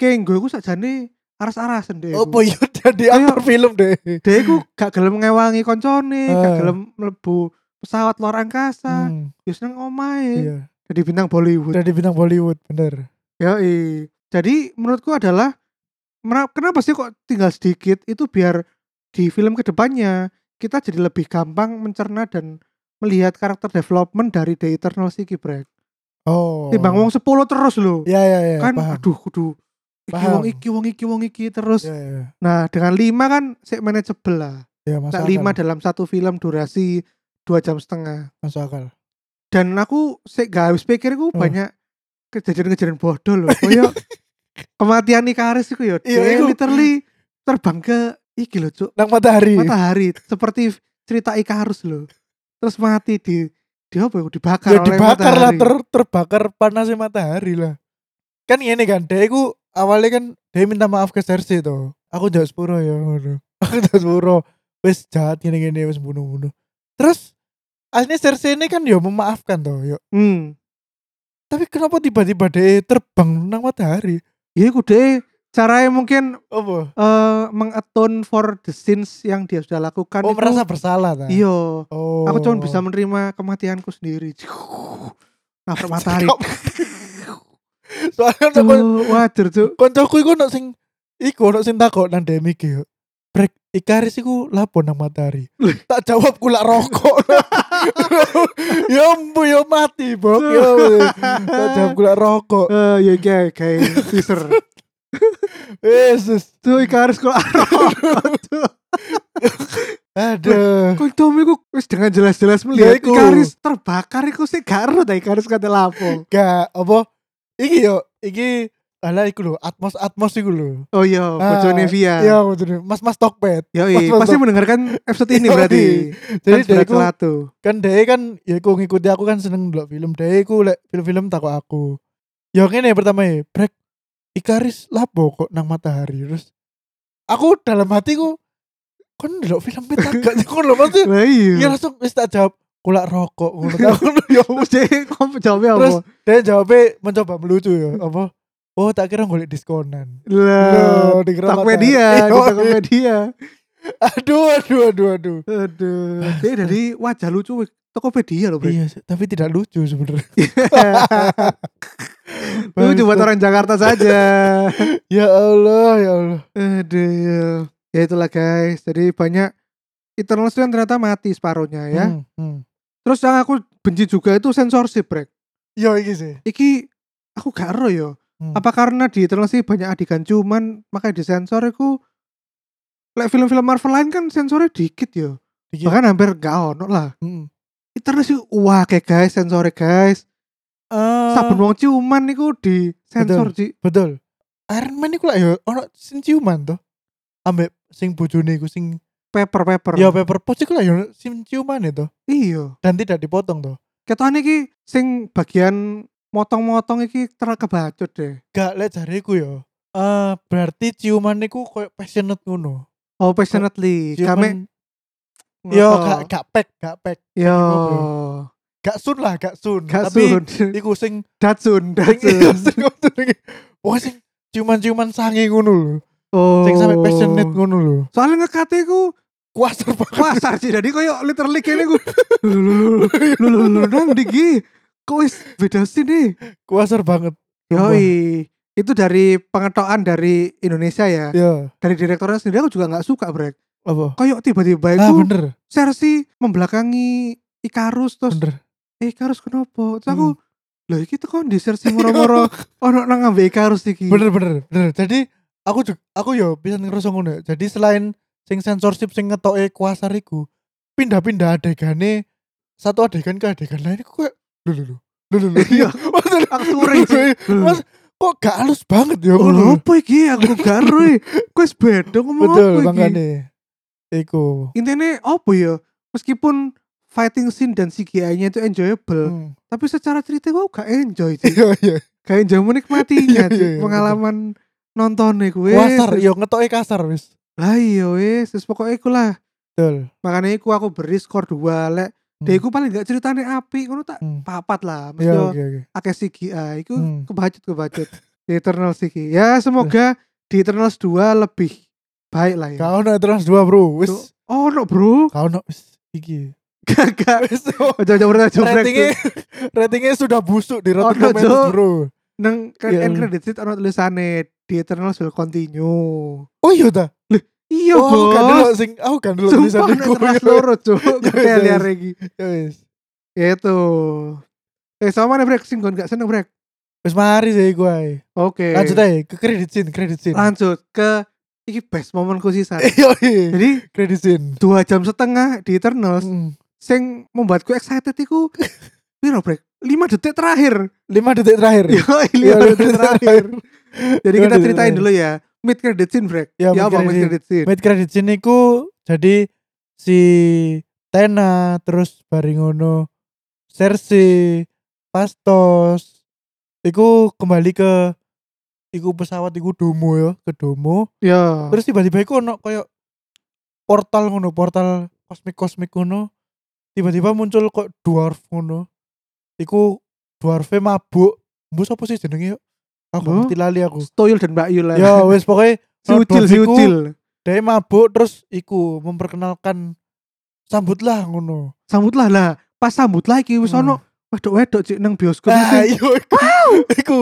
Kenggo itu sajane aras-arasan deh. iku.
Apa iya jadi aktor film deh.
Dia iku gak gelem ngewangi koncone, gak
Eh.
gelem mlebu pesawat luar angkasa,
Hmm,
yo seneng omahe.
iya.
Jadi bintang Bollywood.
Udah di bintang Bollywood bener.
Yoi. Jadi menurutku adalah mena- kenapa sih kok tinggal sedikit itu biar di film kedepannya kita jadi lebih gampang mencerna dan melihat karakter development dari The Eternal sih Kibrek.
Oh.
Timbang wong 10 terus loh.
Ya ya ya.
kan
paham.
aduh kudu iki
Paham.
wong iki wong iki wong iki terus.
Ya, ya.
Nah, dengan 5 kan sik manageable lah.
Ya,
Nah,
masuk
lima
akal.
dalam satu film durasi dua jam setengah.
Masuk akal.
Dan aku sih gak habis pikir aku
Hmm.
banyak kejadian-kejadian bodoh loh.
*laughs*
Kayak kematian Ikaris itu ya.
Iya,
Dia
iku.
literally terbang ke iki loh cuk.
Nang matahari.
Matahari seperti cerita Ikarus loh. Terus mati di di apa ya? Dibakar
Ya
oleh
dibakar lah
matahari.
ter- terbakar panasnya matahari lah. Kan ini kan dia iku awalnya kan dia minta maaf ke Cersei tuh. Aku jauh sepuro ya ngono. *laughs* Aku jauh sepuro. Wis jahat gini-gini wis bunuh-bunuh. Terus aslinya Cersei ini kan ya memaafkan tuh. Yo.
Hmm.
Tapi kenapa tiba-tiba dia terbang nang matahari?
Ya iku deh caranya mungkin
Apa?
eh mengatone for the sins yang dia sudah lakukan.
Oh
iku-
merasa bersalah ta?
Iya.
Oh.
Aku cuma
*laughs*
bisa menerima kematianku sendiri. Nabrak matahari.
Soalnya kan ono
Cuk, wajar cuk.
koncoku iku ono sing iku ono sing takok nang DM iki yo. Brek Ikaris iku lapo nang matahari.
Lih.
Tak jawab kula rokok. yo mbu yo mati, Bok. Yo. Tak jawab kula rokok.
Eh ya kayak kayak teaser.
Yesus.
Tuh ikaris kok "Ah,
Aduh.
kondom iku wis dengan jelas-jelas melihat
iku.
ikaris terbakar iku sih gak ero ta ikaris kate lapo.
Gak apa iki yo iki ala iku lho, Atmos Atmos iku lho.
Oh iya, bojone Via.
Iya, betul. Mas-mas Tokpet.
Yoi,
Mas- mas-
pasti mendengarkan episode ini *laughs*
Yoi.
berarti.
Jadi
Kan
dia
sudah
iku
celatu.
kan dia kan ya aku ngikuti aku kan seneng ndelok film dia aku lek film-film takut aku ya ngene pertama ya brek Ikaris lapo kok nang matahari terus aku dalam hatiku kan ndelok film beta gak sih Ngono lho pasti
Lah *laughs*
ya
iya.
langsung wis tak jawab kulak rokok ngono Aku ngono, ya
Terus dia kok jawabnya apa?
terus dia jawabnya mencoba melucu ya apa oh tak kira golek diskonan *laughs*
Lah,
Loh, dikira
*laughs* Tokopedia,
matahari.
di Tokopedia.
aduh aduh aduh aduh
Aduh, dia dari wajah lucu wik. Tokopedia loh, Bre. *laughs*
iya sih, tapi tidak lucu sebenarnya
Lucu buat orang Jakarta saja. *laughs*
ya Allah ya Allah
Aduh. Ya itulah guys. Jadi banyak Eternals itu yang ternyata mati separuhnya ya.
Hmm, hmm.
Terus yang aku benci juga itu sensorship, Brek.
ya iki sih
Iki aku gak ero yo.
Hmm.
Apa karena di Eternals sih banyak adegan cuman makanya disensor iku Lek film-film Marvel lain kan sensornya dikit yo.
Dikit.
Bahkan hampir gak ono lah.
Hmm.
Eternals sih wah kayak guys sensornya guys.
Eh,
Saben wong ciuman niku di sensor, Ci.
betul Iron Man iku lah ya ono sing ciuman tuh ambek sing bojone iku sing
Paper paper.
ya paper post iku lah ya sing ciuman itu
Iya.
dan tidak dipotong tuh
Ketone iki sing bagian motong-motong iki terkebacut deh.
gak lek jariku ya eh berarti ciuman niku koyo passionate ngono
Oh, passionately. Kame
ciuman yo gak gak pek gak pek
yo
gak sun lah gak sun
gak
tapi
sun.
*laughs* iku sing
Datsun,
sing iya,
Datsun.
sing Wah, sing ciuman-ciuman sange ngono lho
Oh.
sing sampe passionate ngono lho
Soalnya ngekate ku
kuasar banget
pasar sih. Jadi koyo literally kene ku lulu lulu lulu nang iki. Kok wis beda sini.
kuasar banget
Yoi. Itu dari pengetokan dari Indonesia ya.
ya
Dari direkturnya sendiri aku juga nggak suka, Brek.
apa
Koyok tiba-tiba
ah
itu
bener
Cersei membelakangi Ikarus terus
bener
eh Ikarus kenapa? Terus aku
Hmm.
loh iki teko di Cersei moro-moro ono nang ngambil Ikarus iki.
*laughs* bener bener bener jadi aku juga aku yo bisa ngerasa ngono ya. jadi selain sing sensorship sing ngetoke kuasar iku pindah-pindah adegane satu adegan ke adegan lain iku kayak lho lho lho lho lho lho *laughs*
Iya.
Mas, lho,
Aku
lho,
sore
lho, *laughs* lho. Mas kok gak halus banget ya
Oh lho,
ngono
apa iki aku garu. Kowe wis beda ngomong
betul
apa iki.
makane iku
Intine apa ya? Meskipun fighting scene dan CGI-nya itu enjoyable,
Hmm. *laughs*
tapi secara cerita gua gak enjoy sih.
iya iya
Gak enjoy menikmatinya
*laughs* Iya,
Ci.
iya, iya,
pengalaman nontonnya gue.
kuasar yo ngetoke kasar wis
Lah iya wis, terus pokoknya iku lah.
betul
Makanya iku aku beri skor 2 lek.
Hmm.
Dia iku paling gak ceritanya api, ngono tak
Hmm.
papat lah. Mesti
iya
yo-
oke oke
akeh CGI iku
Hmm.
kebacut
*laughs*
kebacut di Eternals iki ya semoga di Eternals 2 lebih baik lah ya
kau no trans dua bro
Tuh.
wis
oh no
*laughs*
bro
kau no wis
*laughs*
iki
gak
wis
ojo
*laughs*
ojo berita jobrek
ratingnya *laughs* ratingnya sudah busuk di Rotten
Ono, Oh, Cuk.
Tomatoes bro
neng kan
Iya.
end credit sheet ono tulisane di Eternals will continue
oh iya ta
iya
oh, aku kan dulu
bos
sing aku kan dulu bisa
sumpah nek
niku
Eternals loro cuk
Ya,
Kayak
wis.
liar iki
*laughs* Ya wis
Ya, itu eh sama nih brek singgon gak seneng brek
wis mari sih gue ae.
oke
lanjut aja ke credit scene credit scene *laughs*
lanjut ke iki best momenku sisan
iya iya.
jadi
credit scene
dua jam setengah di Eternals
Mm.
sing membuatku excited
*laughs*
iku piro break 5 detik terakhir
lima detik terakhir
yo *laughs*
Iya,
5 detik terakhir jadi
Lima
kita
detik
ceritain
terakhir.
dulu ya mid credit scene break
Ya,
ya,
mid
apa mid
credit-
credit scene
mid credit scene niku jadi si Tena terus Baringono Cersei Pastos iku kembali ke iku pesawat iku domo ya ke domo
ya
Terus tiba-tiba iku ono koyo portal ngono, portal kosmik-kosmik ngono. Tiba-tiba muncul kok dwarf ngono. Iku dwarfe mabuk. Mbok sapa sih jenenge yo?
Mbok?
Aku gak ngerti lali aku.
Stoyul dan Mbak Yul lah
ya wis pokoke
si ucil si ucil
Dia mabuk terus iku memperkenalkan sambutlah ngono.
sambutlah lah pas sambutlah iki wis
Hmm.
ono wedok-wedok cik nang bioskop
Nah,
itu.
iyo, iku. Iku.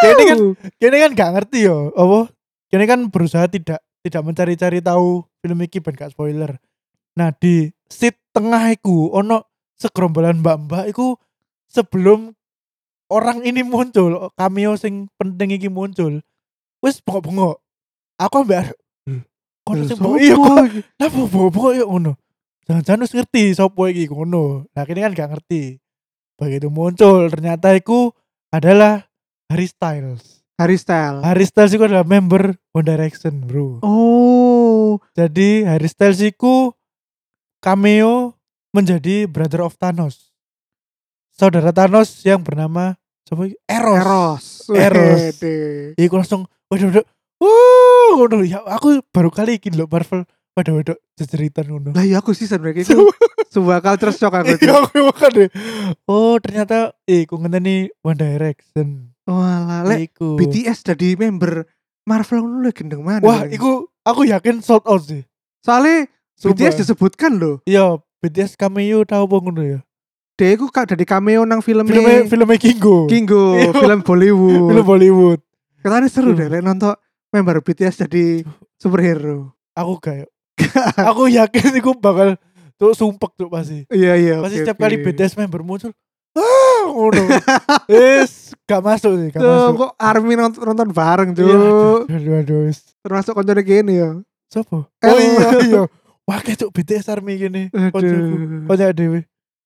Kene kan kene kan gak ngerti yo. Apa? Kene kan berusaha tidak tidak mencari-cari tahu film iki ben gak spoiler. Nah, di seat tengah iku ono segerombolan mbak-mbak iku sebelum orang ini muncul, cameo sing penting iki muncul. Wis bengok-bengok. Aku ambek "Lho, kok ono
Lha,
sing
sopo
bengok iya kok
iki?
lah bobo-bobo yuk ngono jangan-jangan harus ngerti sopo iki ngono nah kini kan gak ngerti begitu muncul ternyata iku adalah Harry Styles
Harry Styles.
Harry Styles itu adalah member One Direction bro
Oh,
jadi Harry Styles itu cameo menjadi brother of Thanos saudara Thanos yang bernama siapa iki? Eros
Eros.
Eros.
Wede.
Iku langsung waduh waduh wuh ngono ya aku baru kali ini loh Marvel waduh waduh jejeritan ngono
Lah iya aku sih sebenarnya itu sebuah culture shock aku
*laughs* Iya
tuh.
aku makan deh. Oh ternyata eh ku ngenteni One Direction.
Walah, lek
Iku.
BTS jadi member Marvel ngono lho gendeng mana.
Wah,
lagi.
iku aku yakin sold out sih.
Soale
Sumpah.
BTS disebutkan loh.
Iya, BTS cameo tahu apa ngono ya.
Dia iku kak dari cameo nang filmnya
Film film Kingo.
Kingo,
Iya.
film
Film
Bollywood.
Bollywood.
Katanya seru
Hmm.
deh lek nonton member BTS jadi superhero.
Aku gak
*laughs*
yuk. aku yakin iku bakal tuh sumpek tuh pasti.
Iya iya.
Pasti
oke,
setiap
oke.
kali BTS member muncul ah
*laughs*
ngono. Yes, gak masuk sih, gak
Tuh,
masuk.
kok Army nonton, nonton bareng
Iya, aduh,
tuh.
aduh, aduh, wis.
Termasuk koncone gini ya.
Sopo?
Eh,
Oh
*laughs*
iya iya. Wah, kayak BTS Army gini. Oh, ya, Koncoku.
Aduh.
Kocak dewe.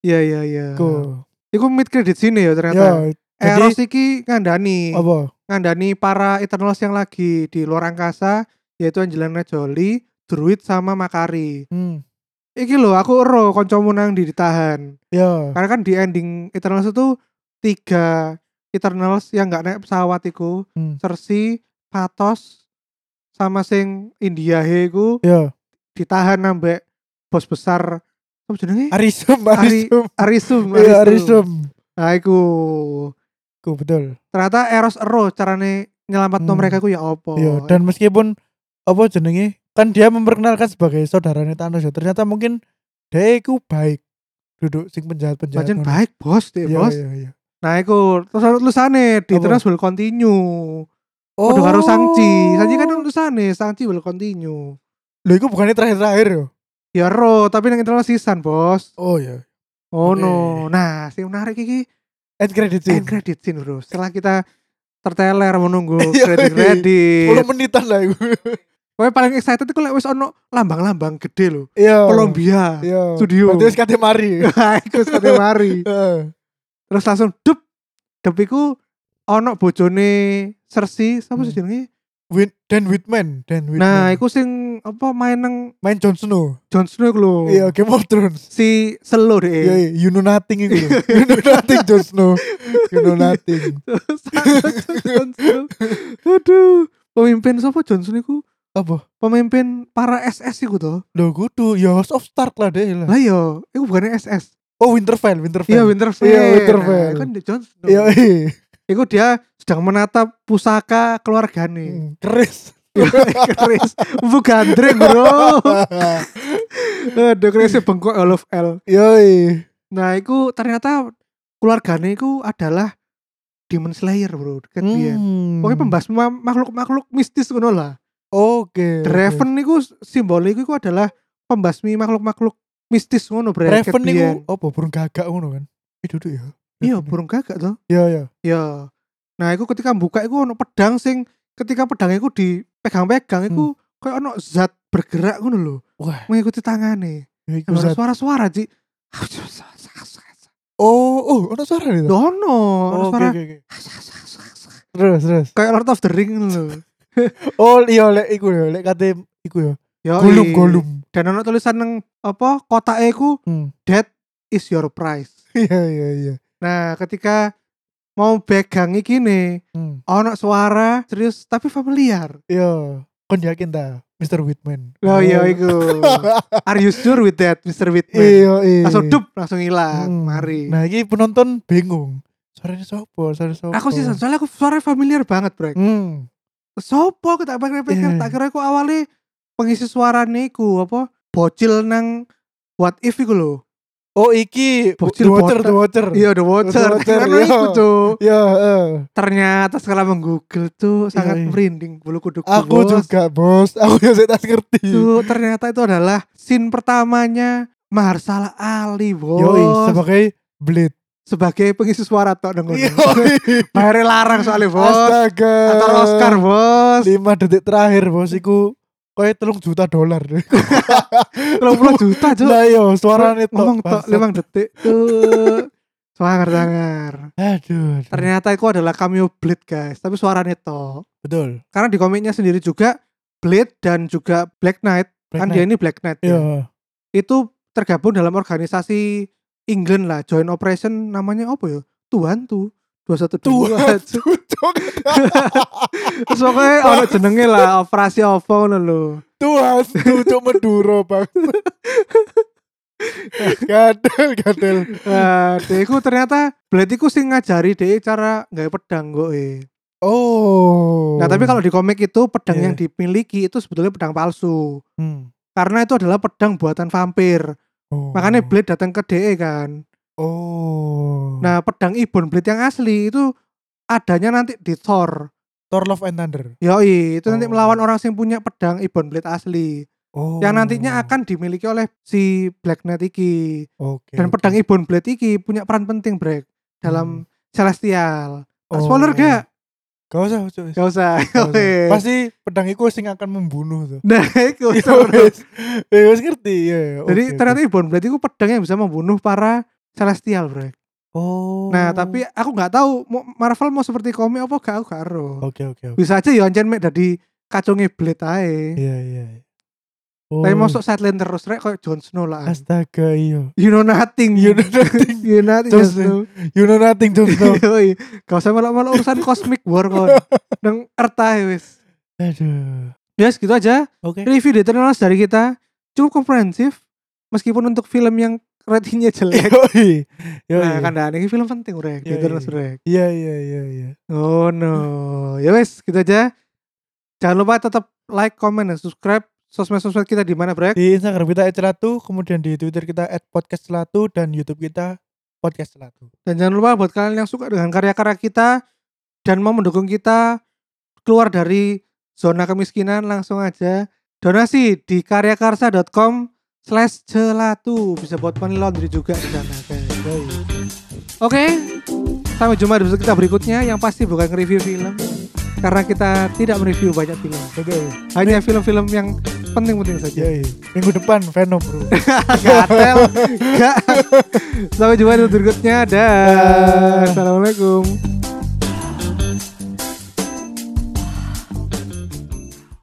Iya iya iya.
Iku.
Iku mid credit sini ya ternyata.
Ya, jadi
Eros iki ngandani,
apa?
ngandani para Eternals yang lagi di luar angkasa yaitu Angelina Jolie, Druid sama Makari.
Hmm.
Iki loh aku ero kancamu nang di ditahan.
Ya.
Karena kan di ending Eternals itu tiga Eternals yang nggak naik pesawat iku,
Hmm.
Cersei, Pathos sama sing India he iku
Ya.
ditahan nambah bos besar apa jenenge?
Arisum,
Ari-
Arisum.
Arisum,
Iya, Arisum.
Nah, iku.
Ku betul.
Ternyata Eros ero carane nyelamatno
Hmm.
mereka ku ya opo.
Iya, dan meskipun apa jenenge? Kan dia memperkenalkan sebagai saudaranya Thanos ya. Ternyata mungkin dia iku baik. Duduk sing penjahat-penjahat.
Pancen
ngono.
baik bos deh
Iya,
bos.
iya, iya.
Nah iku terus ada tulisannya di
Apa?
terus will continue. Oh, karo Sangci. Sangci kan tulisannya Sangci will continue.
Loh, iku bukannya terakhir-terakhir ya?
Ya ro, tapi nang internal season bos.
Oh iya.
Oh
Oke.
no. Nah, sing menarik iki
End credit scene.
end credit scene bro. Setelah kita terteler menunggu
*laughs* Iya,
credit
iya. 10
credit.
menitan lah iku.
Kowe paling excited itu lek wis ono lambang-lambang gede lho.
Iya.
Kolombia. *laughs*
Iya.
Studio.
Berarti wis kate mari. *laughs*
Nah,
Eh.
Iku sate mari.
Heeh.
terus langsung dup depiku ono bojone Sersi siapa sih
Hmm.
jenenge
Win Dan Whitman, Dan Whitman.
nah iku sing apa main nang
main Jon Snow.
Jon Snow iku lho
Iya, Game of Thrones.
si Selo
Iya,
deh
iya, you know nothing itu. you know nothing Jon Snow. You know nothing.
Jon Snow aduh pemimpin siapa Jon Snow iku
Apa?
pemimpin para SS iku to
Lo kudu ya House of Stark lah deh lah.
lah yo iku bukannya SS
Oh Winterfell,
iya
Winterfell.
Winterfell
Iya, Winterfell.
Nah, kan di Jon Snow
Iya, iya.
iku dia sedang menatap pusaka *laughs* keluargane
Hmm, Keris.
Keris bukan gandring bro Aduh, kerisnya bengkok all of L.
*laughs* Yoi.
Nah, itu ternyata keluarganya itu adalah Demon Slayer, bro. Kan biyen.
Hmm.
Pokoknya pembahas ma- makhluk-makhluk mistis ngono lah.
Oke.
The Raven niku simbolnya iku adalah pembasmi makhluk-makhluk mistis ngono, bro.
Raven
Ket biyen.
niku apa burung gagak ngono kan? Ih duduk ya.
Iya, burung gagak tuh.
Iya, iya.
Ya. Nah, iku ketika buka iku ono pedang sing ketika pedangnya iku dipegang-pegang iku kayak ono zat bergerak ngono lho,
Hmm. Wah,
mengikuti tangane.
ya iku
Emang ada
zat.
suara-suara, Ji.
Oh, oh, ada suara nih.
Dono, ada
Oh, oke,
suara
oke, oke. Terus, terus.
kayak Lord of the Ring lho.
Oh, iya lek iku ya, lek kate iku ya.
Yo,
Golum, golum.
Dan ono tulisan nang apa kotak e iku
Hmm.
that is your prize.
*laughs* Iya, iya, iya.
Nah, ketika mau pegang iki nih,
Hmm.
ono Oh, suara serius tapi familiar.
Yo, Iya, kon yakin ta, Mr. Whitman?
Oh iya iku. *laughs* Are you sure with that, Mr. Whitman?
Iya, iya.
Langsung dup, langsung hilang.
Hmm.
Mari.
Nah, ini penonton bingung. Suaranya sopo, suaranya sopo.
aku sih soalnya aku suara familiar banget, Brek.
Hmm.
Sopo aku tak pikir
Iya.
tak kira aku awalnya pengisi suarane iku apa bocil nang what if iku lho.
Oh iki
Bocil
The Watcher,
botak.
The Watcher.
Iya The Watcher.
The Watcher,
Kan
iya.
iku, Cuk.
Iya, eh.
Ternyata setelah menggoogle tuh sangat
iya.
merinding bulu kuduk.
Aku juga, Bos. *laughs* Aku yang saya tak ngerti.
Tuh, ternyata itu adalah scene pertamanya Mahershala Ali, bos.
Yoi, sebagai Blade.
sebagai pengisi suara tok dong.
Yoi.
Bayarnya larang soalnya, bos.
Iya. Astaga.
Atau Oscar, bos.
5 detik terakhir, Bos, iku koyo 3 juta dolar.
30 juta, Cuk.
Lah iya, yo, suarane tok.
Ngomong tok 5
bangsat.
detik tuh. Sangar sangar.
Aduh. aduh.
Ternyata itu adalah cameo Blade, guys. Tapi suaranya tok.
betul.
Karena di komiknya sendiri juga Blade dan juga Black Knight. kan dia ini Black Knight. ya.
Iya.
Itu tergabung dalam organisasi England lah, Joint Operation namanya apa ya? Tuhan tuh. 212.
Tuhan. Tuh,
Terus pokoknya ono jenenge lah operasi apa ngono lho.
Tuhan, tuh Maduro, Bang. *laughs* Gadel, gadel.
Eh, deku ternyata Blade iku sing ngajari dhek cara nggawe pedang kok. eh.
Oh.
Nah, tapi kalau di komik itu pedang
Iya.
yang dimiliki itu sebetulnya pedang palsu.
Hmm.
Karena itu adalah pedang buatan vampir.
Oh.
Makanya Blade datang ke DE kan.
Oh.
Nah, pedang Ibon Blade yang asli itu adanya nanti di Thor.
Thor Love and Thunder.
Yoi, itu nanti
Oh.
melawan orang yang punya pedang Ibon Blade asli.
Oh.
Yang nantinya akan dimiliki oleh si Black Knight iki.
Oke.
Dan
oke. Hmm.
pedang Ibon Blade iki punya peran penting, Brek, dalam Celestial. Ah, spoiler
Oh.
gak?
Gak usah, Cuk.
*laughs* Gak usah.
Gak usah.
Oke.
Pasti pedang iku sing akan membunuh
*laughs*
tuh.
Nah, itu.
Ya
seru.
wes. Ya wes ngerti, ya. ya,
Jadi
oke,
ternyata
oke.
Ibon Blade itu pedang yang bisa membunuh para Celestial, Brek.
Oh.
Nah, tapi aku nggak tahu mau- Marvel mau seperti komik apa gak aku gak ero.
Oke, oke, oke.
Bisa aja ya ancen mek dadi kacunge Blade ae.
Iya, iya. iya. Oh.
Tapi masuk sideline terus rek kayak Jon Snow lah.
Astaga, iya.
You know nothing.
You know nothing.
*laughs* you know nothing.
Jon
Jon Snow.
You know nothing, Jon
*laughs*
Snow.
Yoi. Gak usah malah-malah urusan cosmic war
*laughs*
kon. Nang Earth ae wis.
Aduh.
Ya segitu aja.
Oke.
Review The Eternals dari kita cukup komprehensif meskipun untuk film yang ratingnya
*laughs*
jelek.
*laughs* Yoi. Yoi.
Nah, kan ini film penting rek, The
Yoi.
Eternals rek.
Oh, Iya, iya, iya, iya.
Oh no. Ya wes, gitu aja. Jangan lupa tetap like, comment, dan subscribe sosmed-sosmed kita di mana, Brek?
Di Instagram kita @celatu, kemudian di Twitter kita @podcastcelatu dan YouTube kita podcast celatu.
Dan jangan lupa buat kalian yang suka dengan karya-karya kita dan mau mendukung kita keluar dari zona kemiskinan langsung aja donasi di karyakarsa.com slash celatu bisa buat penilaian diri juga di sana guys.
Yoi.
Oke, sampai jumpa di episode kita berikutnya yang pasti bukan review film karena kita tidak mereview banyak film,
Betul.
hanya film-film yang penting-penting saja.
Yoi. Minggu depan Venom, Bro.
*laughs*
*laughs*
Gatel. Gak. Sampai jumpa di berikutnya. Dah.
Dah.
Assalamualaikum.